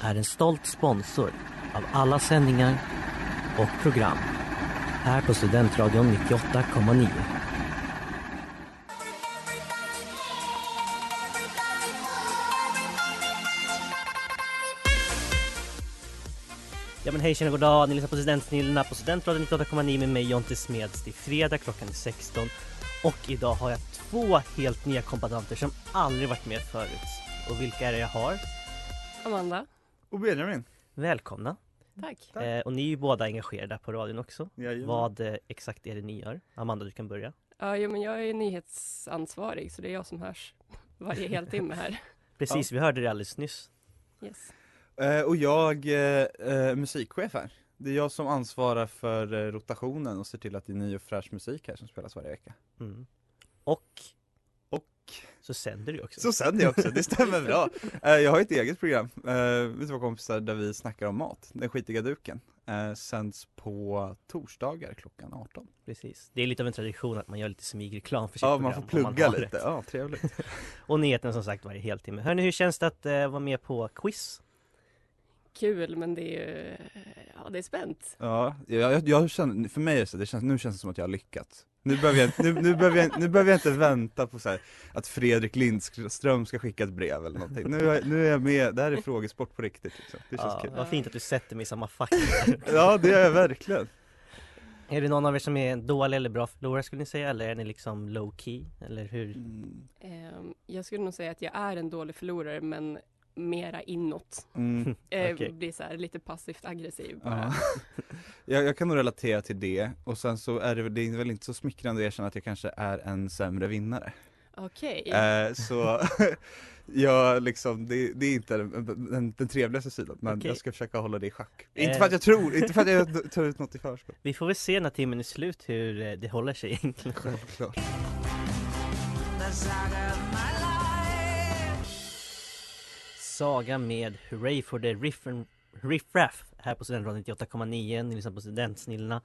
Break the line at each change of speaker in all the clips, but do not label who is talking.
är en stolt sponsor av alla sändningar och program här på Studentradion 98,9. Ja men hej tjena goddag, ni lyssnar på Studentsnillena på Studentradion 98,9 med mig Jonte Smeds. Det är fredag, klockan är 16 och idag har jag två helt nya kombatanter som aldrig varit med förut. Och vilka är det jag har?
Amanda.
Och Benjamin.
Välkomna!
Tack.
Tack.
Eh, och ni är ju båda engagerade på radion också.
Jajamän.
Vad eh, exakt är det ni gör? Amanda, du kan börja.
Ja, jo, men jag är nyhetsansvarig så det är jag som hörs varje heltimme här.
Precis, vi hörde det alldeles nyss.
Yes.
Eh, och jag eh, eh, musikchef här. Det är jag som ansvarar för eh, rotationen och ser till att det är ny och fräsch musik här som spelas varje vecka.
Mm. Och
Och
så sänder du också.
så sänder jag också, det stämmer bra. Eh, jag har ett eget program eh, med två kompisar där vi snackar om mat, Den skitiga duken. Eh, sänds på torsdagar klockan 18.
Precis. Det är lite av en tradition att man gör lite smygreklam för sitt
Ja,
program.
man får
om
plugga
har
lite.
ett.
Ja, trevligt.
Och nyheterna som sagt varje heltimme. Hörni, hur känns det att eh, vara med på quiz?
Kul, men det är ju... Ja, det är spänt.
Ja, jag, jag, jag känner, för mig är det så, det känns, nu känns det som att jag har lyckats. Nu behöver jag, nu, nu behöver jag, nu behöver jag inte vänta på så här, att Fredrik Lindström ska skicka ett brev eller någonting. Nu, är- nu är jag med, det här är frågesport på riktigt liksom. Det känns
Ja,
kul.
vad fint att du sätter mig i samma fack.
Ja, det är jag verkligen.
är det någon av er som är en dålig eller bra förlorare skulle ni säga? Eller är ni liksom low key? Eller hur?
Mm.
Ehm, Jag skulle nog säga att jag är en dålig förlorare, men mera inåt.
Mm.
Eh,
Okej.
Blir så här lite passivt aggressiv bara.
Ja. Jag, jag kan nog relatera till det och sen så är det, väl- det är väl inte så smickrande att erkänna att jag kanske är en sämre vinnare.
Okej.
Eh, så jag liksom, det, det är inte den, den, den trevligaste sidan men
Okej.
jag ska försöka hålla det i schack.
Eh.
Inte för att jag tror, inte för att jag tar ut något i förskott.
Vi får väl se när timmen är slut hur eh, det håller sig egentligen.
Självklart.
Saga med Hurray for the Riffen- Riffraff här på Studentradion 98,9. Ni lyssnar på Studentsnillena.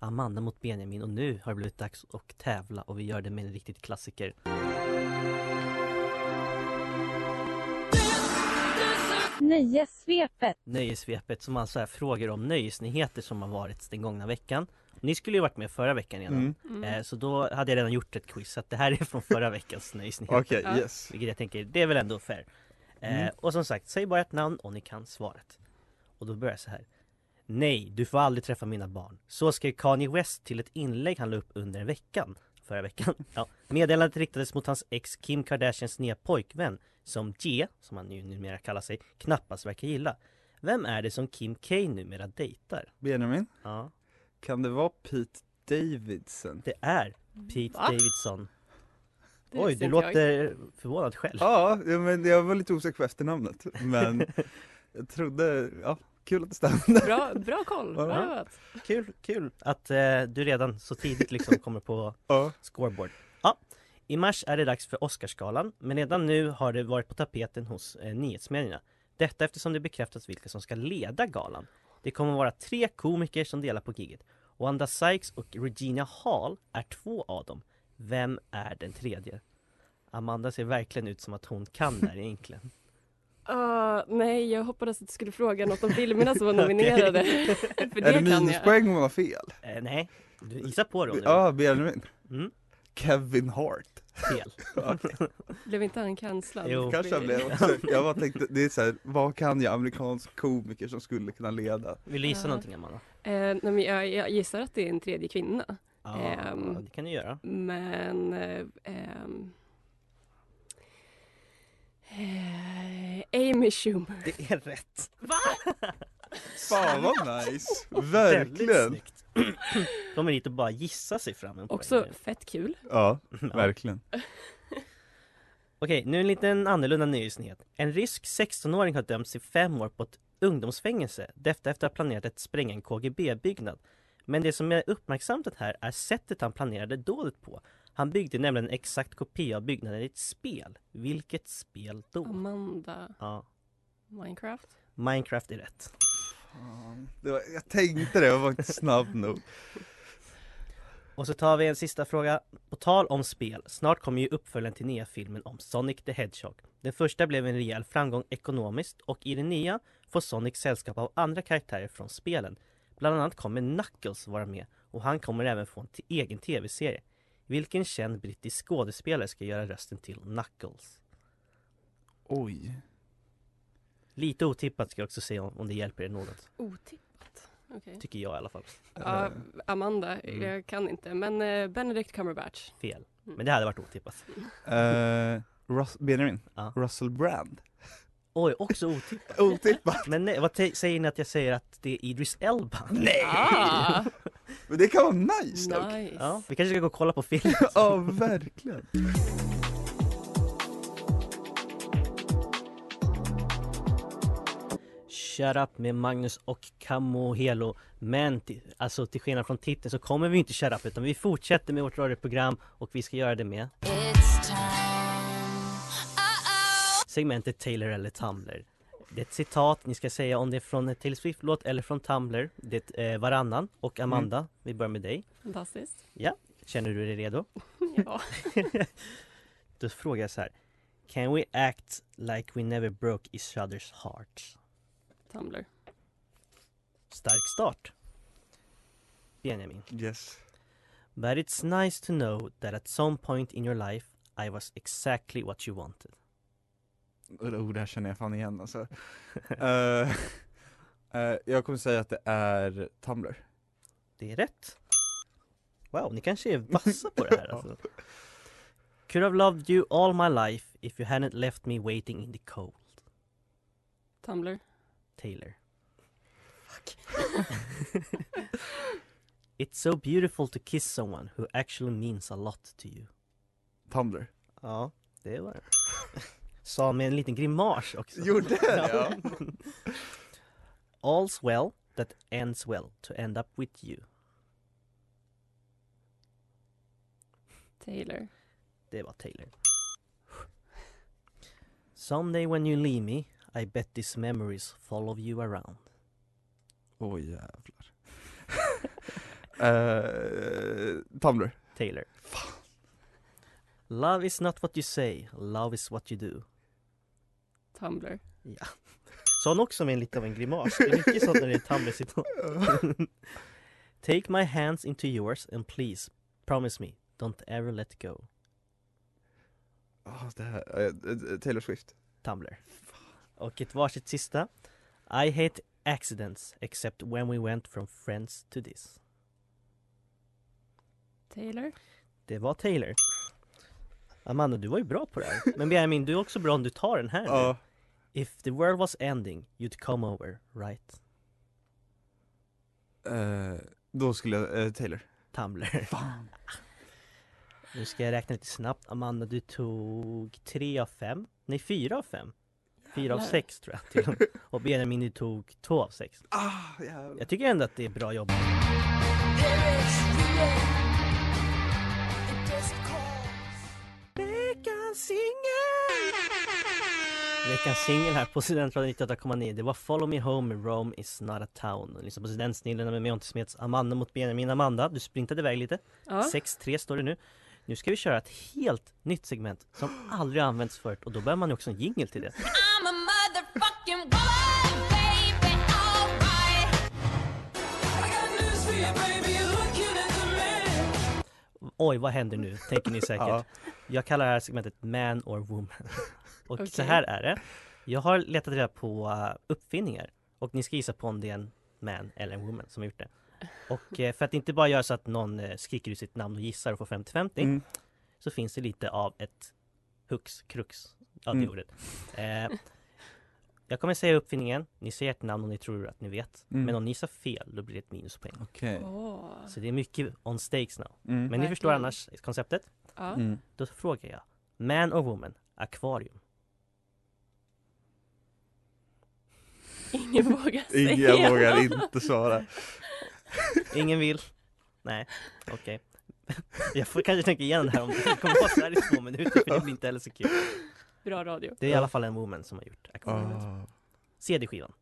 Amanda mot Benjamin och nu har det blivit dags att tävla och vi gör det med en riktigt klassiker.
Nöjessvepet.
Nöjesvepet som alltså är frågor om nöjesnyheter som har varit den gångna veckan. Ni skulle ju varit med förra veckan redan.
Mm.
Eh, Så då hade jag redan gjort ett quiz så att det här är från förra veckans nöjesnyheter.
Okej,
Ja.
yes.
Vilket jag tänker, det är väl ändå fair. Eh,
Mm.
och som sagt, säg bara ett namn och ni kan svaret. Och då börjar jag så här. Nej, du får aldrig träffa mina barn. Så skrev Kanye West till ett inlägg han la upp under veckan. Förra veckan. Ja. Meddelandet riktades mot hans ex Kim Kardashians nya pojkvän som G, som han ju numera kallar sig, knappast verkar gilla. Vem är det som Kim K numera dejtar?
Benjamin,
Ja,
kan det vara Pete Davidson?
det är Pete
Va?
Davidson.
Det visste
Oj, du
inte jag.
låter förvånad själv.
Ja, ja, men jag var lite osäker på efternamnet men jag trodde, ja, kul att det stämde.
Bra, bra koll!
Ja.
Bra jobbat.
Kul, kul att eh, du redan så tidigt liksom kommer på
Ja.
scoreboard. Ja, i mars är det dags för Oscarsgalan, men redan nu har det varit på tapeten hos eh, nyhetsmedierna. Detta eftersom det bekräftats vilka som ska leda galan. Det kommer vara tre komiker som delar på giget. Wanda Sykes och Regina Hall är två av dem. Vem är den tredje? Amanda ser verkligen ut som att hon kan där egentligen.
Ah, nej, jag hoppades att du skulle fråga något om filmerna som var nominerade. För det,
Är det
kan jag.
minuspoäng om man har fel?
Eh, nej, du gissar på det om du vill.
Ja, Benjamin.
Mm.
Kevin Hart.
fel.
Blev inte han cancellad?
Jo.
Kanske jag blev också. Jag bara tänkte, det är så här, vad kan jag amerikansk komiker som skulle kunna leda?
Vill du gissa
Ja.
någonting Amanda?
Eh, nej, men jag, jag gissar att det är en tredje kvinna.
Ja,
Ehm.
det kan du göra.
Men... Eh, ehm, eh, Amy Schumer.
Det är rätt.
Fan vad nice!
Väldigt
Verkligen!
snyggt. De är hit och bara gissa sig fram en poäng.
Också fett kul.
Ja,
Ja.
verkligen.
Okej, nu en liten annorlunda nyhetsnyhet. En rysk 16-åring har dömts till fem år på ett ungdomsfängelse detta efter att ha planerat att spränga en KGB-byggnad. Men det som är uppmärksamt här är sättet han planerade dådet på. Han byggde nämligen en exakt kopia av byggnaden i ett spel. Vilket spel då?
Amanda
Ja,
Minecraft.
Minecraft är rätt.
Fan. Det var, jag tänkte det, jag var inte snabb nog.
Och så tar vi en sista fråga. På tal om spel, snart kommer ju uppföljaren till nya filmen om Sonic the Hedgehog. Den första blev en rejäl framgång ekonomiskt och i den nya får Sonic sällskap av andra karaktärer från spelen. Bland annat kommer Knuckles vara med och han kommer även få en t- egen tv-serie. Vilken känd brittisk skådespelare ska göra rösten till Knuckles?
Oj.
Lite otippat ska jag också säga om, om det hjälper er något.
Otippat. Okej.
Tycker jag i alla fall.
Ja, Amanda,
Mm.
jag kan inte. Men eh, Benedict Cumberbatch.
Fel. Men det hade varit otippat.
Eh, Rus- Benjamin?
Ja.
Russell Brand?
Oj, också otippat.
Otippat!
Men nej, vad te- säger ni att jag säger att det är Idris Elba?
Nej!
Ah,
Men det kan vara nice dock!
nice.
Ja, vi kanske ska gå och kolla på film.
Ja, verkligen!
Shut up med Magnus och Camo Helo. Men ti- alltså till skillnad från titeln så kommer vi inte shut up utan vi fortsätter med vårt radioprogram och vi ska göra det med segmentet Taylor eller Tumblr. Det är ett citat, ni ska säga om det är från en Taylor Swift-låt eller från Tumblr. Det är eh, varannan. Och Amanda, vi börjar med dig.
Fantastiskt.
Känner du dig redo?
Ja.
Då frågar jag så här. Can we act like we never broke each other's hearts?
Tumblr.
Stark start. Benjamin.
Yes.
But it's nice to know that at some point in your life I was exactly what you wanted.
Oh, det här känner jag fan igen alltså. Eh, eh, jag kommer säga att det är Tumblr.
Det är rätt. Wow, ni kanske är vassa på det här alltså. Could have loved you all my life if you hadn't left me waiting in the cold.
Tumblr.
Taylor. it's so beautiful to kiss someone who actually means a lot to you.
Tumblr.
Ja, det var det. Sa med en liten grimas också.
Gjorde det? Ja.
All's well that ends well to end up with you.
Taylor.
Det var Taylor. Someday when you leave me I bet these memories follow you around.
Oj jävlar. Eh, Tumblr.
Taylor. Love is not what you say, love is what you do.
Tumblr.
Sa hon också med en lite av en grimas. Det är mycket sånt när det är Tumblr-citat. Take my hands into yours and please promise me don't ever let go.
Ah, det här, eh, Taylor Swift.
Tumblr. Och ett varsitt sista. I hate accidents except when we went from friends to this.
Taylor.
Det var Taylor. Amanda, du var ju bra på det här. Men Benjamin, du är också bra om du tar den här nu.
Ja,
If the world was ending, you'd come over, right?
eh, då skulle jag, eh, Taylor.
Tumblr.
Fan.
Nu ska jag räkna lite snabbt. Amanda, du tog tre av fem. Nej, fyra av fem. Fyra av
Jävlar.
sex tror jag till och med. Och Benjamin, du tog två av sex.
Ah, jävlar.
Jag tycker ändå att det är bra jobbat. Veckans singel! Veckans singel här på Studentradion 98,9 Det var Follow Me Home med Rome is not a town Och liksom på Studentsnillena med mig Ont Smeds Amanda mot Benjamin Amanda Du sprintade iväg lite
Ja.
6-3 står det nu Nu ska vi köra ett helt nytt segment som aldrig har använts förut och då behöver man ju också en jingle till det
I'm a motherfucking woman, baby, alright.
Oj, vad händer nu? Tänker ni säkert.
Ja.
Jag kallar det här segmentet Man or Woman. Och så
Okej.
här är det. Jag har uh, letat reda på eh, uppfinningar och ni ska gissa på om det är en man eller en woman som har gjort det. Och eh, för att inte bara göra så att någon eh, skriker ut sitt namn och gissar och får 50-50
Mm.
så finns det lite av ett hux krux. Ja, det
Mm.
ordet. Eh, jag kommer säga uppfinningen, ni säger ett namn om ni tror att ni vet.
Mm.
Men om ni sa fel, då blir det ett minuspoäng.
Okej.
Åh.
Så det är mycket on stakes now.
Mm.
Men ni förstår
Verkligen.
annars konceptet.
Ja.
Mm.
Då frågar jag, man or woman, akvarium?
Ingen vågar säga.
Ingen vågar inte svara.
Ingen vill? Nej, okej. Jag får kanske tänka igen här om det kommer vara så här i två minuter för det blir inte heller så kul.
Bra radio.
Det är i alla fall en woman som har gjort akvarium.
Ah.
CD-skivan.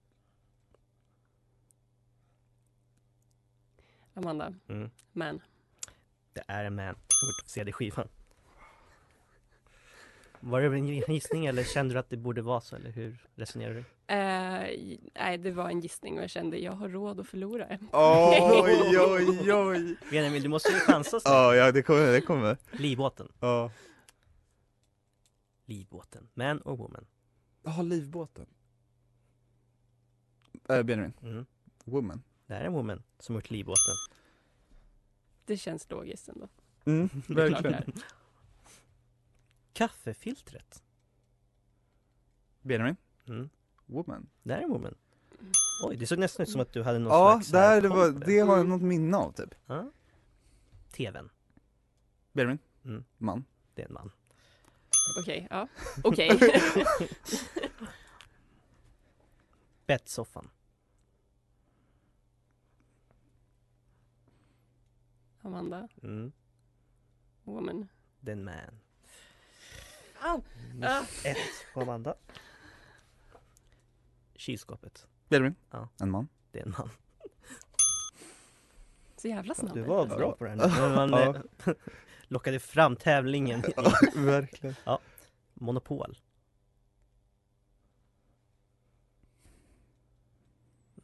Amanda,
Mm.
man.
Det är en man som gjort CD-skivan. Var det en gissning eller kände du att det borde vara så eller hur resonerar du?
Eh, j- nej, det var en gissning och jag kände jag har råd att förlora.
Oj, oj, oj!
Benjamin, du måste ju chansa snart.
Ah, Ja, ja, det kommer, det kommer.
Ah.
Ah.
Livbåten.
Ja.
Livbåten. Man or woman?
Jaha, livbåten. Äh, Benjamin,
Mm.
woman.
Det här är en woman som har gjort livbåten.
Det känns logiskt ändå.
Mm,
Det är klart det
verkligen.
är.
Kaffefiltret.
Benjamin,
Mm.
woman.
Det här är en woman. Oj, det såg nästan ut som att du hade någon
Ja,
slags...
där
eh,
det
koll
var,
på
det har jag något minne av typ.
Ja. TVn.
Benjamin,
Mm.
man.
Det är en man.
Okej, ja. Okej.
Bettsoffan.
Amanda,
Mm.
woman.
Det är en man.
Au! Ah.
Ett på Amanda. Kylskåpet.
Benjamin,
Ja.
en man.
Det är en man.
Så jävla snabb.
Du var bra på den. Man
Ja.
eh, lockade fram tävlingen. i
Ah, verkligen.
Monopol.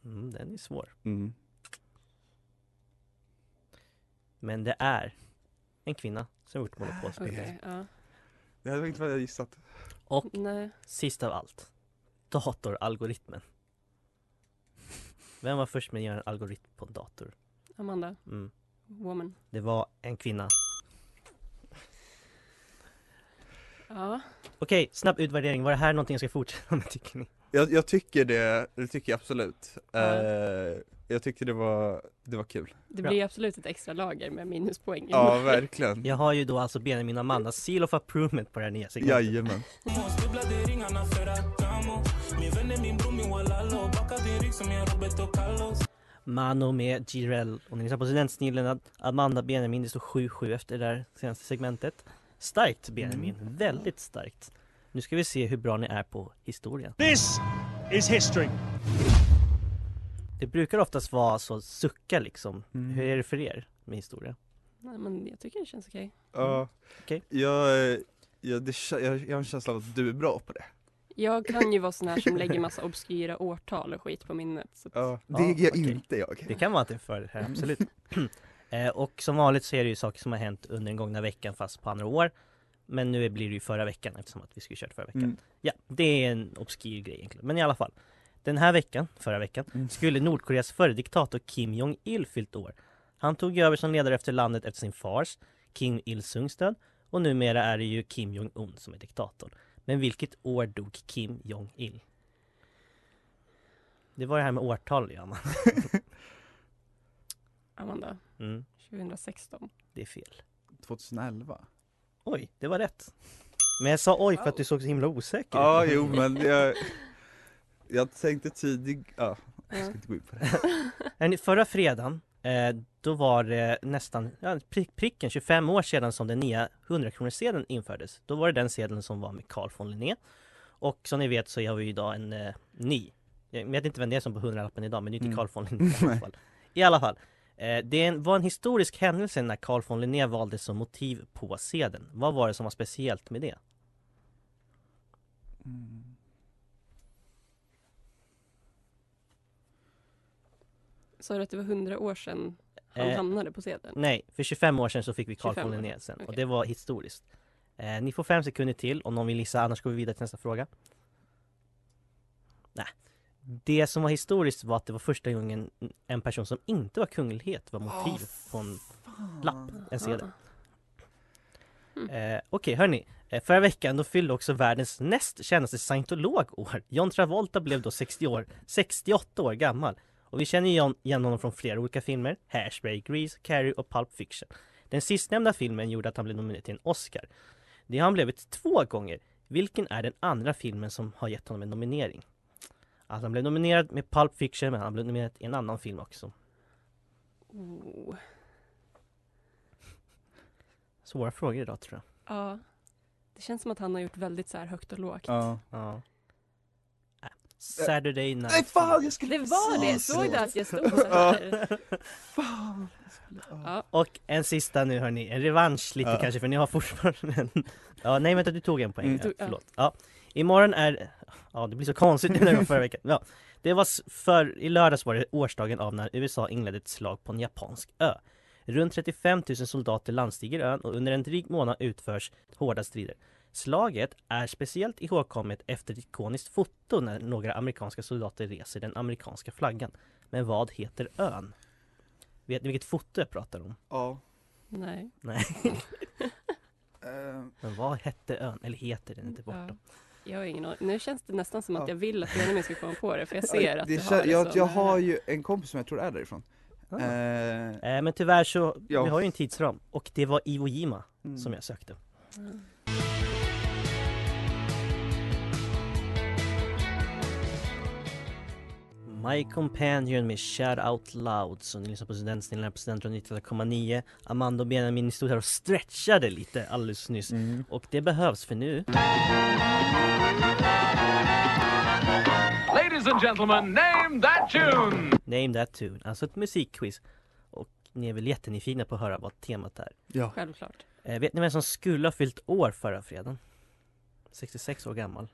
Mm, den är svår.
Mm.
Men det är en kvinna som har gjort monopolspelet.
Okej, ja.
Det hade inte vad jag gissat.
Och
Nej.
sist av allt. Datoralgoritmen. Vem var först med att göra en algoritm på en dator?
Amanda,
Mm.
woman.
Det var en kvinna.
Ja.
Okej, snabb utvärdering. Var det här någonting jag ska fortsätta med tycker ni?
Jag, jag tycker det, det tycker jag absolut.
Ja.
Eh, jag tyckte det var, det var kul.
Det
Bra.
blir absolut ett extra lager med minuspoäng.
Ja, verkligen.
Jag har ju då alltså Benjamin och Amanda seal of approvement på det här nya segmentet.
Jajamän.
Mano med Jireel och ni lyssnar på Studentsnillen att Amanda Benjamin, det står 7-7 efter det där senaste segmentet. Starkt Benjamin, väldigt starkt. Nu ska vi se hur bra ni är på historia.
This is history.
Det brukar oftast vara så sucka liksom.
Mm.
Hur är det för er med historia?
Nej, men jag tycker det känns okej.
Ja.
Okej.
Jag, eh, jag, det, kä- jag, jag har en känsla av att du är bra på det.
Jag kan ju vara sån här som lägger massa obskyra årtal och skit på minnet. Så att
Det är
Ja, okej.
inte jag.
Det kan vara att det är för det här, absolut. eh, och som vanligt så är det ju saker som har hänt under den gångna veckan fast på andra år. Men nu blir det ju förra veckan eftersom att vi skulle kört förra veckan.
Mm.
Ja, det är en obskyr grej egentligen. Men i alla fall. Den här veckan, förra veckan,
Mm.
skulle Nordkoreas förre diktator Kim Jong-Il fyllt år. Han tog ju över som ledare efter landet efter sin fars, Kim Il-Sungs död. Och numera är det ju Kim Jong-Un som är diktatorn. Men vilket år dog Kim Jong-Il? Det var det här med årtal, ja. man.
Amanda,
Mm,
2016.
det är fel.
2011?
Oj, det var rätt. Men jag sa oj för att
Wow.
du såg så himla osäker
Ja, jo men jag, jag tänkte tidigt, ja, jag
Ja.
ska inte gå in på det.
Är ni- Förra fredagen, eh, då var det nästan ja, prick, pricken 25 år sedan som den nya 100-kronorssedeln infördes. Då var det den sedeln som var med Carl von Linné. Och som ni vet så har vi idag en eh, ny. Jag vet inte vem det är som på 100-lappen idag, men det är inte
Mm.
Carl von Linné i alla fall. I alla fall. Eh, det är en- var en historisk händelse när Carl von Linné valdes som motiv på sedeln. Vad var det som var speciellt med det?
Mm.
Sa du att det var 100 år sedan han
Eh,
hamnade på sedeln?
Nej, för 25 år sedan så fick vi Carl
25
von
år.
Linné sen och
Okej.
det var historiskt. Eh, ni får fem sekunder till om någon vill gissa, annars går vi vidare till nästa fråga. Nej, Det som var historiskt var att det var första gången en person som inte var kunglighet var motiv på en lapp, en sedel.
Mm.
Eh, Okej, hörni. Eh, Förra veckan då fyllde också världens näst kändaste scientolog år. John Travolta blev då 60 år, 68 år gammal. Och vi känner ju John- igen honom från flera olika filmer. Hairspray, Grease, Carrie och Pulp Fiction. Den sistnämnda filmen gjorde att han blev nominerad till en Oscar. Det har han blivit två gånger. Vilken är den andra filmen som har gett honom en nominering? Alltså han blev nominerad med Pulp Fiction men han blev nominerad i en annan film också.
Oh.
Svåra frågor idag tror jag.
Ja. Det känns som att han har gjort väldigt så här högt och lågt.
Ja.
Ja. Äh, Saturday Night
Nej fan
Fever.
jag skulle
Det var det! Såg du att jag stod så här? Ja.
Och en sista nu hörni, en revansch lite
Ja.
kanske för ni har fortfarande en... Ja nej vänta du tog en poäng,
Mm.
ja,
Du- ja.
förlåt. Ja. Imorgon är... Ja det blir så konstigt nu när det var förra veckan. Ja. Det var s- för, i lördags var det årsdagen av när USA inledde ett slag på en japansk ö. Runt 35 000 soldater landstiger ön och under en dryg månad utförs hårda strider. Slaget är speciellt ihågkommet efter ett ikoniskt foto när några amerikanska soldater reser den amerikanska flaggan. Men vad heter ön? Vet ni vilket foto jag pratar om?
Ja.
Nej.
Nej,
Eh,
men vad hette ön? Eller heter den inte
Ja.
bortom?
Jag har ingen aning. Nu känns det nästan som att
Ja.
jag vill att Benjamin ska komma på det för jag ser att
det
du
kän-
har det
jag,
så.
jag har ju en kompis som jag tror är därifrån.
Ah.
Eh,
Eh, men tyvärr så,
Ja.
vi har ju en tidsram och det var Iwo Jima
mm.
som jag sökte. My Companion med Shout Out Loud som ni lyssnar på studentsnillen här på Studentradion 98,9 Amanda och Benjamin ni stod här och stretchade lite alldeles nyss
Mm.
och det behövs för nu
Ladies and gentlemen, name that tune!
Name That Tune, alltså ett musikquiz och ni är väl jättenyfikna på att höra vad temat är
Ja.
Självklart.
Eh, vet ni vem som skulle ha fyllt år förra fredagen? 66 år gammal.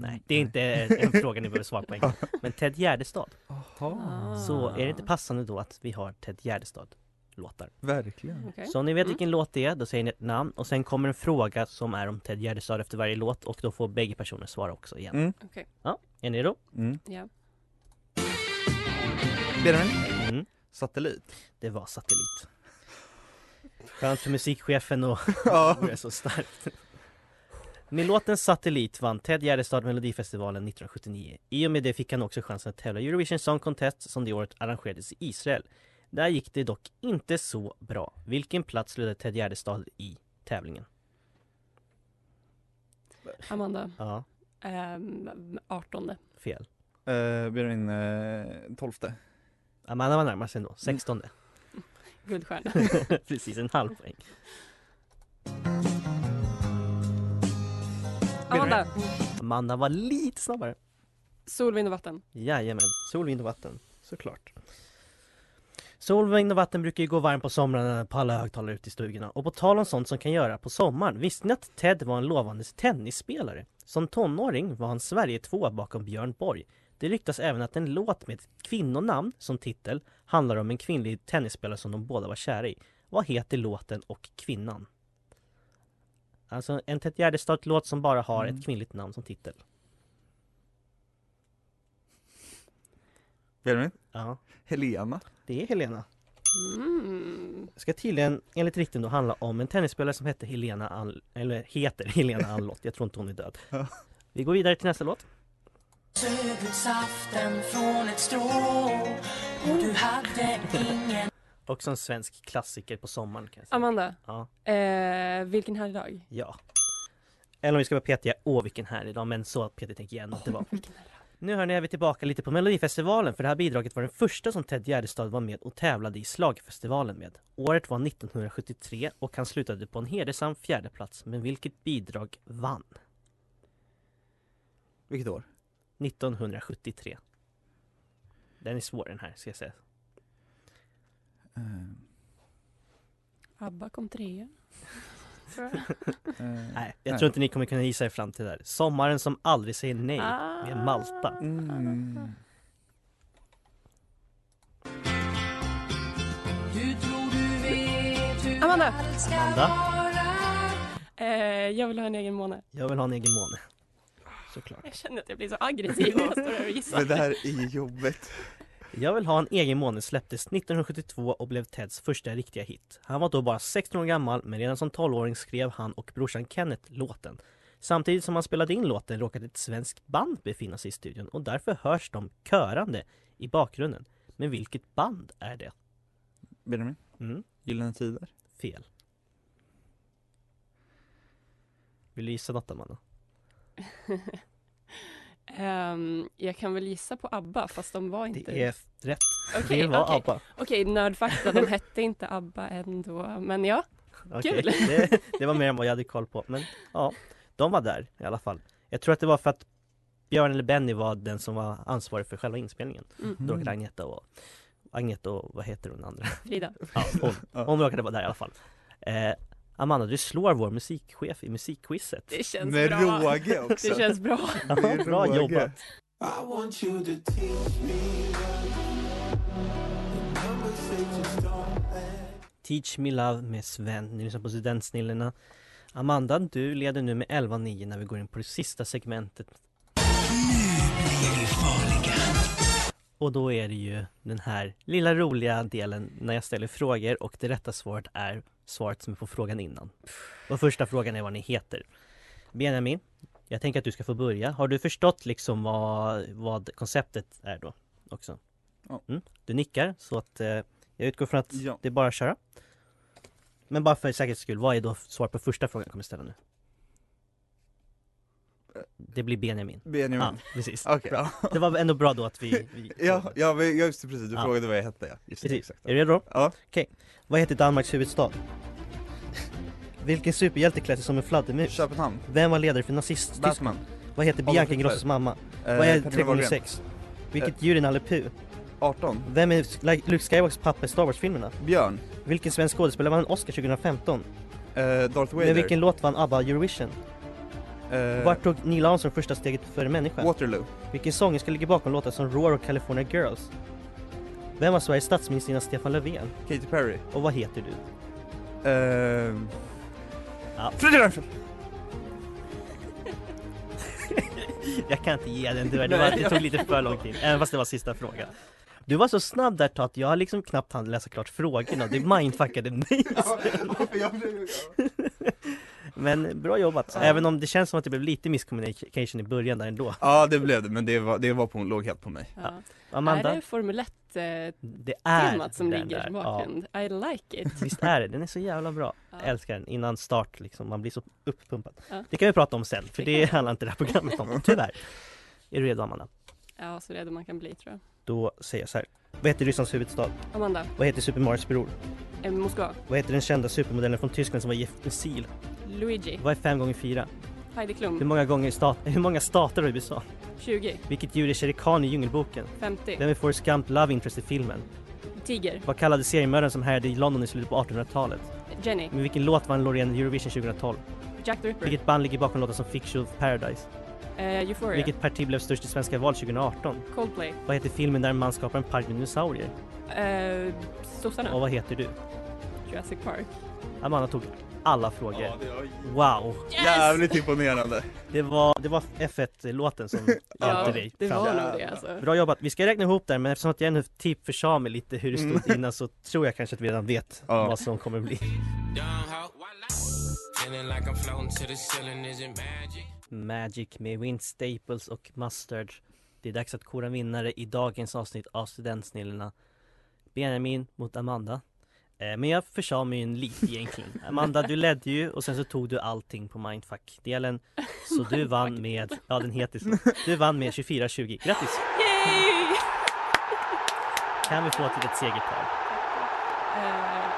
Nej, det är inte en fråga ni behöver svara på en gång. Men Ted Gärdestad.
Ah.
Jaha.
Ah, Så är det inte passande då att vi har Ted Gärdestad-låtar?
Verkligen.
Okej.
Så om ni vet
Mm.
vilken låt det är, då säger ni ett namn och sen kommer en fråga som är om Ted Gärdestad efter varje låt och då får bägge personer svara också igen.
Mm.
Okej.
Ja, är ni redo?
Mm.
Ja.
Benjamin?
Mm.
Satellit?
Det var Satellit. Skönt för musikchefen och
Ja.
Det är så starkt. Med låten Satellit vann Ted Gärdestad Melodifestivalen 1979. I och med det fick han också chansen att tävla i Eurovision Song Contest som det året arrangerades i Israel. Där gick det dock inte så bra. Vilken plats slutade Ted Gärdestad i tävlingen?
Ah. Amanda.
Ja,
Um, 18.
fel.
Eh, Benjamin, eh, tolfte.
Amanda var närmast ändå, 16
Guldstjärna.
Precis en halv poäng.
Amanda.
Amanda var lite snabbare.
Sol, vind och vatten.
Jajamän, sol, vind och vatten. Såklart. Sol, vind och vatten brukar ju gå varmt på somrarna på alla högtalare ute i stugorna. Och på tal om sånt som kan göra på sommaren, visste ni att Ted var en lovande tennisspelare? Som tonåring var han Sverige två bakom Björn Borg. Det ryktas även att en låt med ett kvinnonamn som titel handlar om en kvinnlig tennisspelare som de båda var kära i. Vad heter låten och kvinnan? Alltså en Ted Gärdestad-låt som bara har
Mm.
ett kvinnligt namn som titel.
Benjamin?
Ja,
Helena?
det är Helena.
Mm.
ska tydligen, enligt rykten då, handla om en tennisspelare som hette Helena All... Eller heter Helena Allott, jag tror inte hon är död.
Ja.
Vi går vidare till nästa låt. Också en svensk klassiker på sommaren kan jag säga.
Amanda.
Ja,
Eh, vilken här dag?
ja. Eller om vi ska vara petiga, åh vilken härlig dag, men så petig tänker jag ändå inte vara. Nu hörni är vi tillbaka lite på Melodifestivalen för det här bidraget var den första som Ted Gärdestad var med och tävlade i slagfestivalen med. Året var 1973 och han slutade på en hedersam fjärde plats men vilket bidrag vann?
Vilket år?
1973. Den är svår den här ska jag säga.
Eh,
Abba kom trea. Tror jag.
eh,
Nej, jag tror inte ni kommer kunna gissa er fram till det här. Sommaren som aldrig säger nej med
Ah.
Malta.
Mm.
Amanda.
Amanda,
Eh, jag vill ha en egen måne.
jag vill ha en egen måne. såklart.
Jag känner att jag blir så aggressiv när jag står här och gissar.
Det där i jobbet.
Jag vill ha en egen månad släpptes 1972 och blev Teds första riktiga hit. Han var då bara 16 år gammal men redan som 12-åring skrev han och brorsan Kenneth låten. Samtidigt som han spelade in låten råkade ett svenskt band befinna sig i studion och därför hörs de körande i bakgrunden. Men vilket band är det?
Benjamin,
Mm,
Gyllene Tider?
fel. Vill du gissa något Amanda?
Ehm, jag kan väl gissa på ABBA, fast de var inte...
Det är rätt.
Okej,
det var
okej.
ABBA.
Okej, nördfakta, de hette inte ABBA ändå, men ja.
Okej,
Kul.
det, det var mer än vad jag hade koll på. Men ja, de var där i alla fall. Jag tror att det var för att Björn eller Benny var den som var ansvarig för själva inspelningen.
Mm.
Då råkade Agneta och Agneta och vad heter hon andra?
Frida.
Mm.
Ja, hon, hon råkade vara där i alla fall. Eh, Amanda, du slår vår musikchef i musikquizet.
Det känns
Med
bra.
råge också!
Det känns bra.
Med
Bra
råge.
jobbat! Teach Me Love med Sven, ni lyssnar på Studentsnillena Amanda, du leder nu med 11-9 när vi går in på det sista segmentet Och då är det ju den här lilla roliga delen när jag ställer frågor och det rätta svaret är svaret som är på frågan innan. Och första frågan är vad ni heter. Benjamin, jag tänker att du ska få börja. Har du förstått liksom vad, vad konceptet är då? Också?
Ja.
Mm, du nickar så att eh, jag utgår från att
Ja.
det är bara att köra. Men bara för säkerhets skull, vad är då svaret på första frågan jag kommer ställa nu? Det blir Benjamin.
Benjamin.
Ja, precis.
Okej.
Bra. Det var ändå bra då att vi... vi
Ja, ja, men ja, just det, precis. Du
Ja.
frågade vad jag hette. Ja. Just det,
Precis.
exakt.
Är du redo?
Ja.
Okej. Vad heter Danmarks huvudstad? Vilken superhjälte klädde sig som en fladdermus?
Köpenhamn.
Vem var ledare för nazist
Batman.
Vad heter
Adolf
Bianca
Hitler.
Ingrossos mamma?
Eh,
Vad är
Petter
3 gånger
Wahlgren.
6? Vilket djur är Nalle Puh?
18.
Vem är Sk- Luke Skywalkers pappa i Star Wars-filmerna?
Björn.
Vilken svensk skådespelare vann en Oscar 2015?
Eh, Darth Vader.
Med vilken låt vann ABBA Eurovision?
Eh,
Vart tog Neil Armstrong första steget för människan?
Waterloo.
Vilken sångerska ligger bakom låtar som Roar och California Girls? Vem var Sveriges statsminister innan Stefan Löfven?
Katy Perry.
Och vad heter du?
Eh,
Ja.
Fredrik Reinfeldt.
Jag kan inte ge den tyvärr, det, var, det tog lite för lång tid, även fast det var sista frågan Du var så snabb där Tat, jag har liksom knappt hann läsa klart frågorna, du mindfuckade mig Men bra jobbat, även om det känns som att det blev lite miscommunication i början där ändå
Ja det blev det, men det var, det var på, låg helt på mig.
Ja. Är
Amanda,
det Formel 1-temat
det är
som
den
ligger
där.
som
Ja,
bakgrund? I like it.
Visst är det, den är så jävla bra
Ja.
Älskar den, innan start liksom, man blir så uppumpad
Ja.
Det kan vi prata om sen, för
Det
det handlar inte det här programmet om, tyvärr Är du redo Amanda?
Ja, så redo man kan bli tror jag.
Då säger jag så här. Vad heter Rysslands huvudstad?
Amanda,
Vad heter Super Marios bror?
eh, Moskva,
Vad heter den kända supermodellen från Tyskland som var gift med Seal?
Luigi,
Vad är 5 gånger 4
Heidi
Hur
Klum,
många, gånger stat- hur många stater har USA?
20,
Vilket djur är Shere Khan i Djungelboken?
50,
Vem är Forrest Gump Love Interest i filmen?
Tiger,
Vad kallades seriemördaren som härjade i London i slutet på 1800-talet?
Jenny,
Med vilken låt vann Loreen Eurovision 2012?
Jack the Ripper,
Vilket band ligger bakom låten som Fictional Paradise?
eh, Euphoria,
Vilket parti blev störst i svenska val 2018?
Coldplay,
Vad heter filmen där en man skapar en park med dinosaurier?
eh,
Och
Sossarna,
vad heter du?
Jurassic Park.
Amanda tog alla frågor.
det var
Wow!
jävligt imponerande.
Det var, det var F1-låten som hjälpte dig
det
fram.
var nog det alltså.
Bra jobbat, vi ska räkna ihop där men eftersom att jag nu typ försade mig lite hur det stod innan så tror jag kanske att vi redan vet
Ja.
vad som kommer bli Magic med Wind Staples och Mustard Det är dags att kora vinnare i dagens avsnitt av Studentsnillena Benjamin mot Amanda Eh, Men jag försade mig en lite egentligen Amanda du ledde ju och sen så tog du allting på mindfuck-delen Så du vann med, ja den heter så Du vann med 24-20, grattis!
Yay!
Kan vi få till ett segertal?
Eh,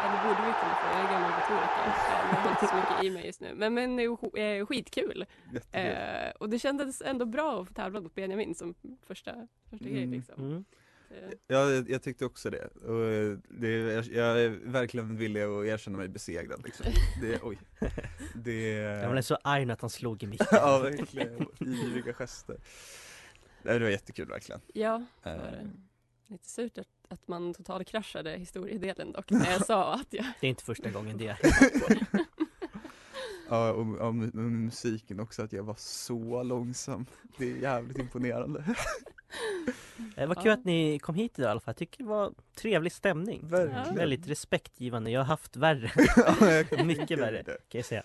eller borde vi kunna få, jag är gammal retoriker. Eh, Jag har inte så mycket i mig just nu. Men, men det är ju sk- eh, skitkul.
Jättekul.
Eh, och det kändes ändå bra att få tävla mot Benjamin som första, första grej
Mm.
liksom.
Mm.
Eh,
Ja, jag, jag tyckte också det. Och eh, det jag, jag är verkligen villig att erkänna mig besegrad liksom. Det, oj. Det...
Jag blev så arg nu att han slog i micken
ja verkligen, yviga gester. Nej, det var jättekul verkligen.
ja,
Eh,
var det. lite surt att, att man totalkraschade historiedelen dock när jag sa att jag...
Det är inte första gången det
Ja, och, och, mu- mu- musiken också, att jag var så långsam. Det är jävligt imponerande.
Eh, vad kul
Ja.
att ni kom hit idag i alla fall. Jag tycker det var trevlig stämning.
Verkligen.
Väldigt respektgivande. Jag har haft värre,
Ja, jag kan
Mycket
tänka mig
värre.
det.
kan jag säga.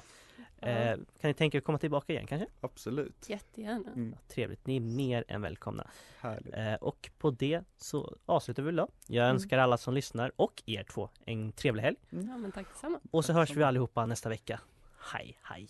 Eh, kan ni tänka er att komma tillbaka igen kanske?
Absolut.
Jättegärna.
Mm,
Trevligt, ni är mer än välkomna.
härligt.
Eh, och på det så avslutar vi idag. Jag önskar alla som lyssnar och er två en trevlig helg.
Ja, men tack detsamma.
Och så
Tack
hörs vi
detsamma.
allihopa nästa vecka. Hej, hej!